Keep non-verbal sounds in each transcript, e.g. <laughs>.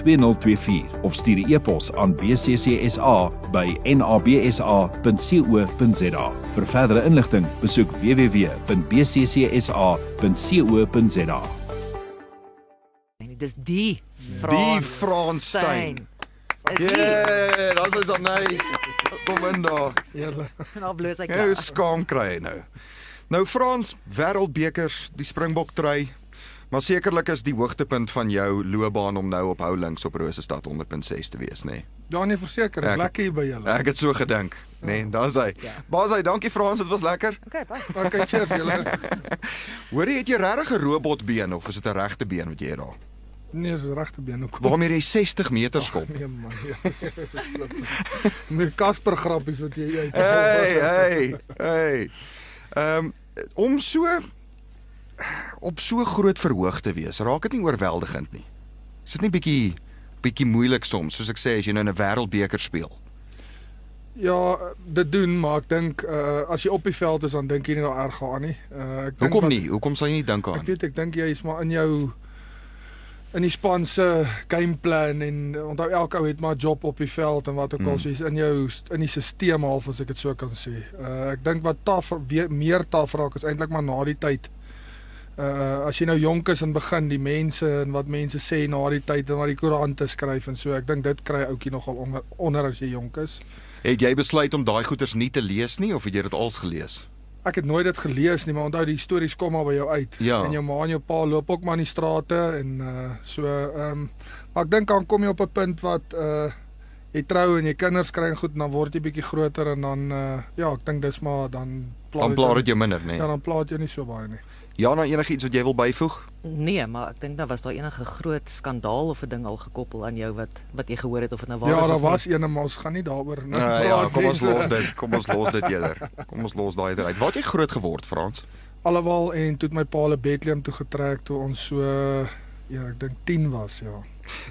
2024 of stuur 'n e-pos aan bccsa by nabsa.co.za. Vir verdere inligting, besoek www.bccsa.co.za. Nee, dis die Die Frans. Fransstein. Dis die. Ja, daar's ons aan nou. Kom in daar. Nou bloos ek. Jy is skaam kry hy nou. Nou Frans Wêreldbekers, die Springbok try. Maar sekerlik is die hoogtepunt van jou loopbaan om nou op Houlings op Rosestad 100.6 te wees, nê. Nee. Ja nee, verseker, Ek- is lekker hier by julle. Ek het so gedink, nê. Nee, daar's hy. Ja. Baas hy, dankie Frans, dit was lekker. Okay, baie. Okay, cheers julle. Hoor jy het jy regtig 'n robotbeen of is dit 'n regte been wat jy het daar? Nee, is regte been ook. Waarmee jy 60 meter skop. Nee man. <laughs> Met Casper grappies wat jy uit. <laughs> Hey, hey, hey. Ehm om so op so groot verhoog te wees, raak dit nie oorweldigend nie. Is dit nie bietjie bietjie moeilik soms, soos ek sê as jy nou in 'n wêreldbeker speel? Ja, dit doen, maar ek dink uh as jy op die veld is dan dink jy nie daar erg aan nie. Uh ek dink Hoekom wat- nie? Hoekom sal jy nie dink Ek aan? weet ek dink jy is maar in jou in die span se gameplan en eh, onthou elke ou het maar 'n job op die veld en wat ook al Mm. so is in jou st- in die stelsel half as ek dit so kan sê. Uh ek dink wat taaf weer meer taaf raak is eintlik maar na die tyd. Uh as jy nou jonk is en begin die mense en wat mense sê na die tyd en wat die koerante skryf en so ek dink dit kry ouetjie nogal onder, onder as jy jonk is. Het jy besluit om daai goeters nie te lees nie of het jy dit als gelees? Ek het nooit dit gelees nie, maar onthou die stories kom maar by jou uit. Ja. En jou ma en jou pa loop ook maar in die strate en uh so ehm um, maar ek dink dan kom jy op 'n punt wat uh jy trou en jy kinders kry en goed en dan word jy bietjie groter en dan uh ja, ek dink dis maar dan plaat Dan het plaat dit jou minder, nê? Ja, dan plaat jou nie so baie nie. Ja, nou enigiets wat jy wil byvoeg? Nee, maar ek dink daar was daar enige groot skandaal of 'n ding al gekoppel aan jou wat wat jy gehoor het of dit nou waar ja, is daar of nie. was een en maar ons gaan nie daaroor nou Uh, ja, praat kom nie. ons los dit. Kom ons los dit eerder. Kom ons los daai uit. Waar het jy groot geword, Frans? <laughs> Alhoewel en toe het my pa hulle Bethlehem toe getrek toe ons so ja, ek dink 10 was, ja.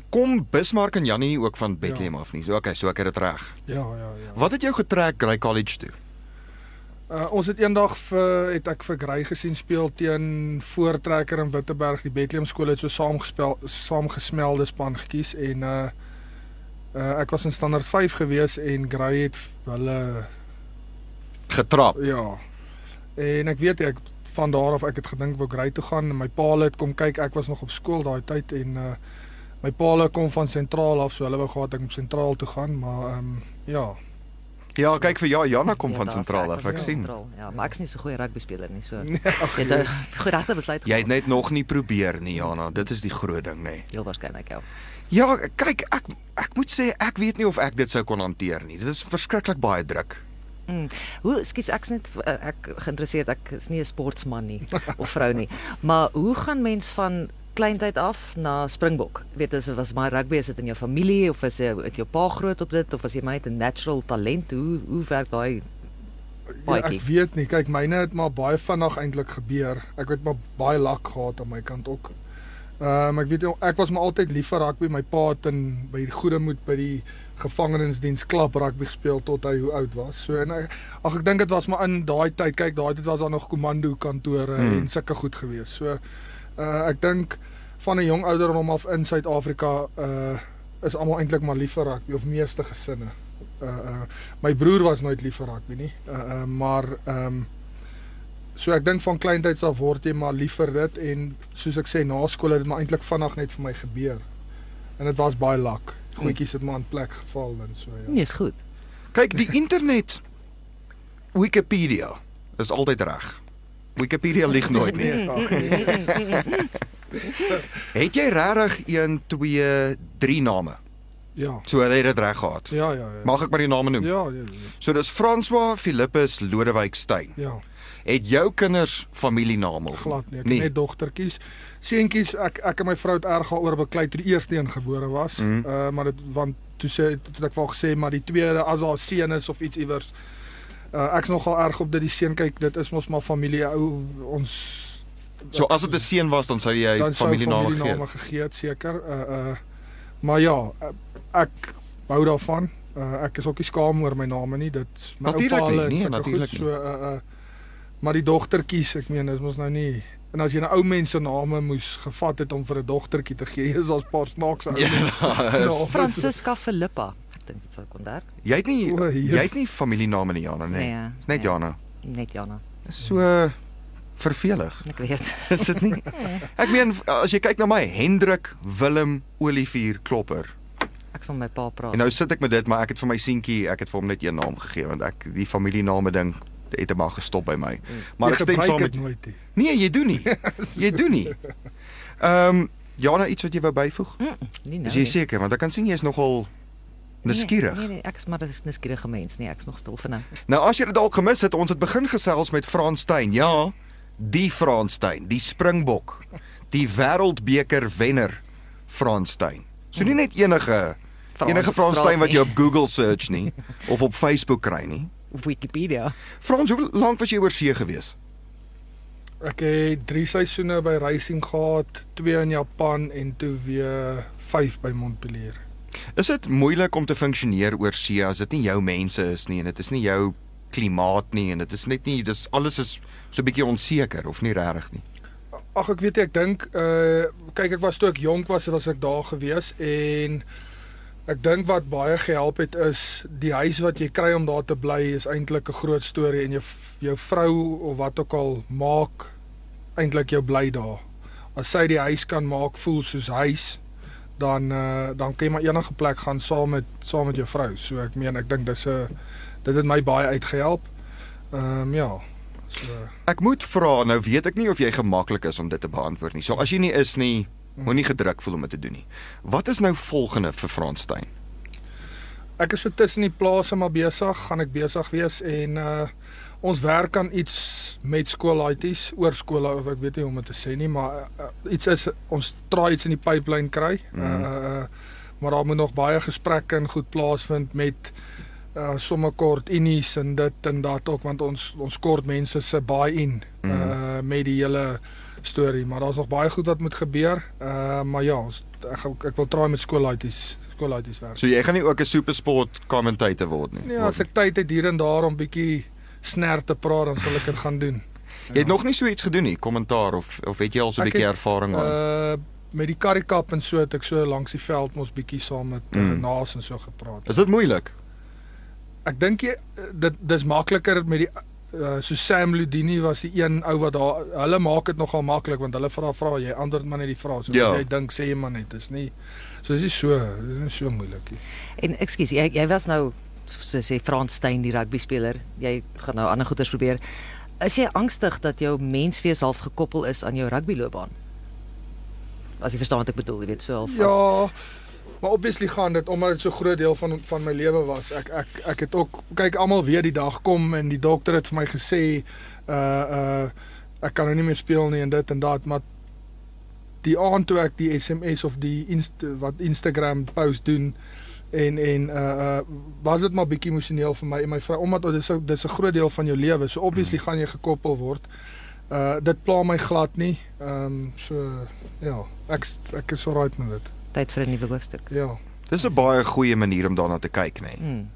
Kom Bismarck en Janie nie ook van Bethlehem af nie. So okay, so ek het dit reg. Ja, ja, ja. Wat het jou getrek Grey College toe? Uh, ons het eendag vir het ek vir Grey gesien speel teen Voortrekker in Witteberg. Die Bethlehem skool het so saamgespel saamgesmelde span gekies en uh uh ek was in standaard 5 gewees en Grey het hulle Getrap. ja. En ek weet ek van daar af ek het gedink wou Grey toe gaan en my pa hulle het kom kyk. Ek was nog op skool daai tyd en uh my pa hulle kom van sentraal af, so hulle wou gehad ek moet sentraal toe gaan, maar ehm um, ja. Ja, kyk vir ja, Jana kom Ja, van daar is- sentraal was af, ek van sien. Sentraal, Ja, maar ek's nie so goeie rugby speler nie, so. Nee, Jy <laughs> het 'n goeie besluit Jy het gemaak. net nog nie probeer nie, Jana. Dit is die groot ding, nê. Nee. Heel waarskynlik ja. Ja, kyk, ek ek moet sê ek weet nie of ek dit sou kon hanteer nie. Dit is verskriklik baie druk. Mm. Hoe skiets ek's net eh, ek geïnteresseerd ek is nie 'n sportman <laughs> nie of vrou nie. Maar hoe gaan mens van kleintyd af na Springbok? Weet as was maar rugby is dit in jou familie of is jy het jou pa groot op dit of was jy maar net 'n natural talent? Hoe hoe werk daai Ja, paadjie? ek weet nie. Kyk, myne het maar baie vinnig eintlik gebeur. Ek het maar baie lak gehad aan my kant ook. Ehm um, ek weet nie, ek was maar altyd lief vir rugby. My pa het in by die goeie moed by die gevangenisdiens klap rugby gespeel tot hy hoe oud was. So en ek ag ek dink dit was maar in daai tyd. Kyk, daai tyd was daar nog komando kantore Hmm. hmm. en sulke goed gewees. So uh ek dink van 'n jong ouderdom af in Suid-Afrika uh is almal eintlik maar lief vir rugby of meeste gesinne. Uh uh my broer was nooit lief vir rugby nie. Uh uh maar ehm um, so ek dink van kleintyds af word jy maar lief vir dit en soos ek sê na skool het dit maar eintlik vinnig net vir my gebeur. En dit was baie lak. Goedjies het maar in plek geval en so ja. Nee, is goed. Kyk, <laughs> die internet Wikipedia is altyd reg. Wikipedia lieg nooit nie. Nee, ag, nee. Het jy regtig 1 2 3 name? Ja. So hulle het dit reg gehad. Ja ja ja. Mag ek maar die name noem? Ja, ja, ja. So dis François Philippus Lodewyk Steyn. ja. Het jou kinders familiename of glad nie. Ek Nee. nee. net dogtertjies. Seentjies, ek ek en my vrou het erg daaroor beklei toe die eerste een gebore was. Mhm. Mm. Uh maar dit want toe sê toe ek wel gesê maar die tweede as daar seun is of iets iewers uh, ek's nogal erg op dat die seun kyk dit is mos maar familie ou ons So as dit 'n seun was dan sou jy dan sou familiename gee. familiename gegee het seker uh uh maar ja uh, ek hou daarvan uh, ek is ook nie skaam oor my name nie dit my Natuurlijk oupa hulle nie, en nee, sulke natuurlijk goed, so uh uh maar die dogtertjies ek meen dis mos nou nie en as jy 'n ou mens se name moes gevat het om vir 'n dogtertjie te gee <laughs> is daar's paar snaakse ou <laughs> mense Ja, name. Francisca Philippa. Ek dink dit sou kon daar. jy het nie O, Jesus. jy het nie familiename nie Jana, nee. Nee, Dis net nee. Jana. Net Jana. Dis so vervelig. <laughs> Ek weet. Is dit nie? Nee. Ek meen as jy kyk na my Hendrik Willem Olivier Klopper. Ek sal met my pa praat. En nou sit ek met dit, maar ek het vir my seentjie, ek het vir hom net een naam gegee want ek die familiename ding het hom maar gestop by my. Maar Mm. Jy ek stem gebruik saam dit met nooit nie. Nee, jy doen <laughs> nie. Jy doen nie. Ehm Jana, iets wat jy wou byvoeg? nie nou. Is jy nie. seker want ek kan sien jy is nogal nuuskierig. Nee, nee, nee, ek is maar 'n nuuskierige mens. Nee, ek's nog stil vir nou. Nou as jy dit dalk gemis het, ons het begin gesels met Franssteyn. Ja, die Franssteyn, die Springbok, die Wêreldbeker wenner Franssteyn. So nie net enige Hmm. Frans enige op straat Franssteyn wat nie. jy op Google search nie <laughs> of op Facebook kry nie. Op <laughs> Wikipedia. Frans, hoe lank was jy oor see gewees? Ek het 3 seisoene by Racing gehad, 2 in Japan en toe weer 5 by Montpellier. Is dit moeilik om te funksioneer oor see as dit nie jou mense is nie en dit is nie jou klimaat nie en dit is net nie dis alles is so 'n bietjie onseker of nie regtig nie. Ag ek weet nie, ek dink uh kyk ek was toe ek jonk was, was ek daar gewees en ek dink wat baie gehelp het is die huis wat jy kry om daar te bly is eintlik 'n groot storie en jou jou vrou of wat ook al maak eintlik jou bly daar. As sy die huis kan maak voel soos huis, dan uh dan kan jy maar enige plek gaan saam met saam met jou vrou. So ek meen ek dink dis 'n dit het my baie uitgehelp. Ehm um, ja. So Ek moet vra, nou weet ek nie of jy gemaklik is om dit te beantwoord nie. So as jy nie is nie, moenie gedruk voel om dit te doen nie. Wat is nou volgende vir Franssteyn? Ek is so tussen die plase maar besig, gaan ek besig wees en uh ons werk aan iets met skoolaities, oor skole of ek weet nie hoe om dit te sê nie, maar uh, iets is ons try iets in die pipeline kry. Mm. Uh maar daar moet nog baie gesprekke en goed plaasvind met uh somme kort unies en dit en dat ook want ons ons kort mense se baie in mm. uh met die hele storie, maar daar's nog baie goed wat moet gebeur. Uh maar ja, ons, ek gaan- ek wil try met skoolaities, skoolaities werk. So jy gaan nie ook 'n supersport commentator word nie. Ja, as ek tyd het hier en daar om bietjie sner te praat, dan sal ek dit gaan doen. Jy het nog nie so iets gedoen nie, kommentaar of of het jy al so 'n Ek bietjie het, ervaring aan? Uh met die karikap en so het ek so langs die veld mos bietjie saam met mm. uh, Mm. Naas en so gepraat. Is dit moeilik? Ek dink jy eh, dit dis makliker met die uh, so Sam Ludini was die een ou wat daar hulle maak dit nogal maklik want hulle vra vra jy antwoord maar net die vrae. So Ja. ja. jy dink sê jy maar net, is nie so dis nie so dis nie so moeilik nie. En ekskuus, jy jy was nou so sê Franssteyn die rugby speler. Jy gaan nou ander goeders probeer. Is jy angstig dat jou menswees half gekoppel is aan jou rugbyloopbaan? As jy verstaan wat ek bedoel, jy weet so half as- Ja. Maar obviously gaan dit omdat dit so groot deel van van my lewe was. Ek ek ek het ook kyk almal weer die dag kom en die dokter het vir my gesê uh uh ek kan nou nie meer speel nie en dit en dat, maar die aand toe ek die SMS of die inst, wat Instagram post doen en en uh uh was dit maar bietjie emosioneel vir my en my vrou omdat dit so dis 'n groot deel van jou lewe. So obviously gaan jy gekoppel word. Uh dit pla my glad nie. Ehm um, so ja, ek ek is alright met dit. tyd vir 'n nuwe hoofstuk. Ja. Dis 'n baie goeie manier om daarna te kyk, nê. Nee. Mm.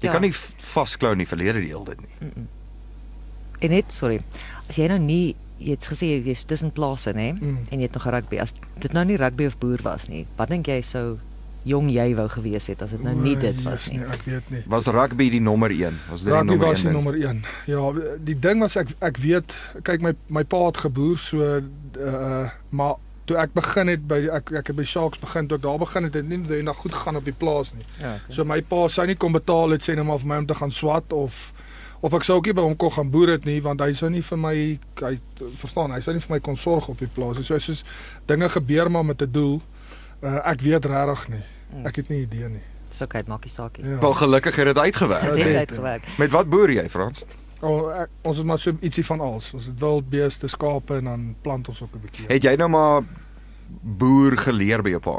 Jy ja. kan nie v- vasklou in die verlede die hele tyd nie. en net sorry. As jy nou nie jy het gesê jy's tussen plase, nê? Mm. En jy het nog rugby. As dit nou nie rugby of boer was nie, wat dink jy sou jong jy wou gewees het as dit nou nie O, dit was Jesus, nie? Nee, ek weet nie. Was rugby die nommer 1? Was dit die Rugby nommer 1? was die ding? nommer 1. Ja, die ding was ek ek weet, kyk my my pa het geboer so uh maar toe ek begin het by ek ek het by Sharks begin, toe ek daar begin het, het dit nie net goed gegaan op die plaas nie. Ja. So my pa sou nie kom betaal het sê nou maar vir my om te gaan swat of of ek sou ook nie by hom kon gaan boer het nie want hy sou nie vir my hy verstaan hy sou nie vir my kon sorg op die plaas nie. So soos dinge gebeur maar met 'n doel. Uh, ek weet regtig nie. Ek het nie idee nie. So kyk, maak nie saak nie. Ja. Wel gelukkig het dit Ja, uitgewerk. Dit dit, het ja. uitgewerk. Met wat boer jy, Frans? O, ek, ons het maar so ietsie van alles. Ons het wild beeste, skape en dan plant ons ook 'n bietjie. Het jy nou maar boer geleer by jou pa?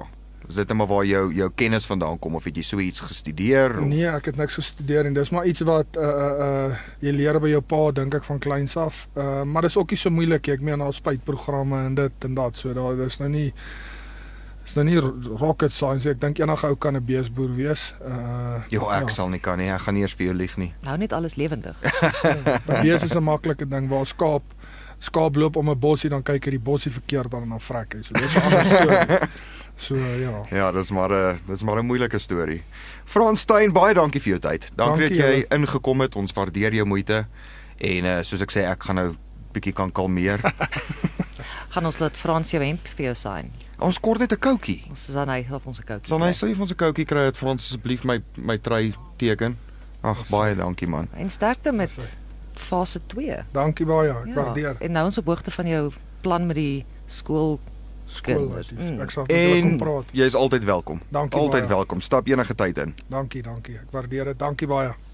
Is dit net maar waar jou jou kennis vandaan kom of het jy so iets gestudeer? Of, Nee, ek het niks gestudeer en dis maar iets wat uh uh uh jy leer by jou pa dink ek van kleins af. Uh maar dis ook nie so moeilik nie. Ek meen daar's spuitprogramme en dit en dat. So daar dis nou nie is nou nie ro- rocket science. nie. Ek dink enige ou kan 'n beesboer wees. Uh Jo, ek ja. Ja. sal nie kan nie. Ek gaan nie eers vir jou lieg nie. Nou net alles lewendig. 'n bees is 'n maklike ding waar skaap skaap loop om 'n bossie dan kyk hy die bossie verkeerd dan en dan vrek hy. So dis 'n ander storie. So ja. Ja, dis maar 'n dis maar 'n moeilike storie. Frans Steyn, baie dankie vir jou tyd. Dankie, Dankie dankie dat jy ingekom het. Ons waardeer jou moeite. En uh, soos ek sê, ek gaan nou bietjie kan kalmeer. <laughs> Gaan ons laat Frans jou hemp vir jou sign. ons kort net 'n koutjie. Ons is aan hy help ons 'n koutjie. nou Sal hy kry. sê vir ons 'n koutjie kry dat Frans asseblief my my trei teken? Ag, baie dankie man. En sterkte met fase 2. Dankie baie. Ek ja. waardeer. En nou ons op hoogte van jou plan met die skool. Skool. wat is- Mm. Ek sal met julle kom En praat. jy is altyd welkom. Dankie Altyd baie. welkom. Stap enige tyd in. Dankie, dankie. Ek waardeer dit. Dankie baie.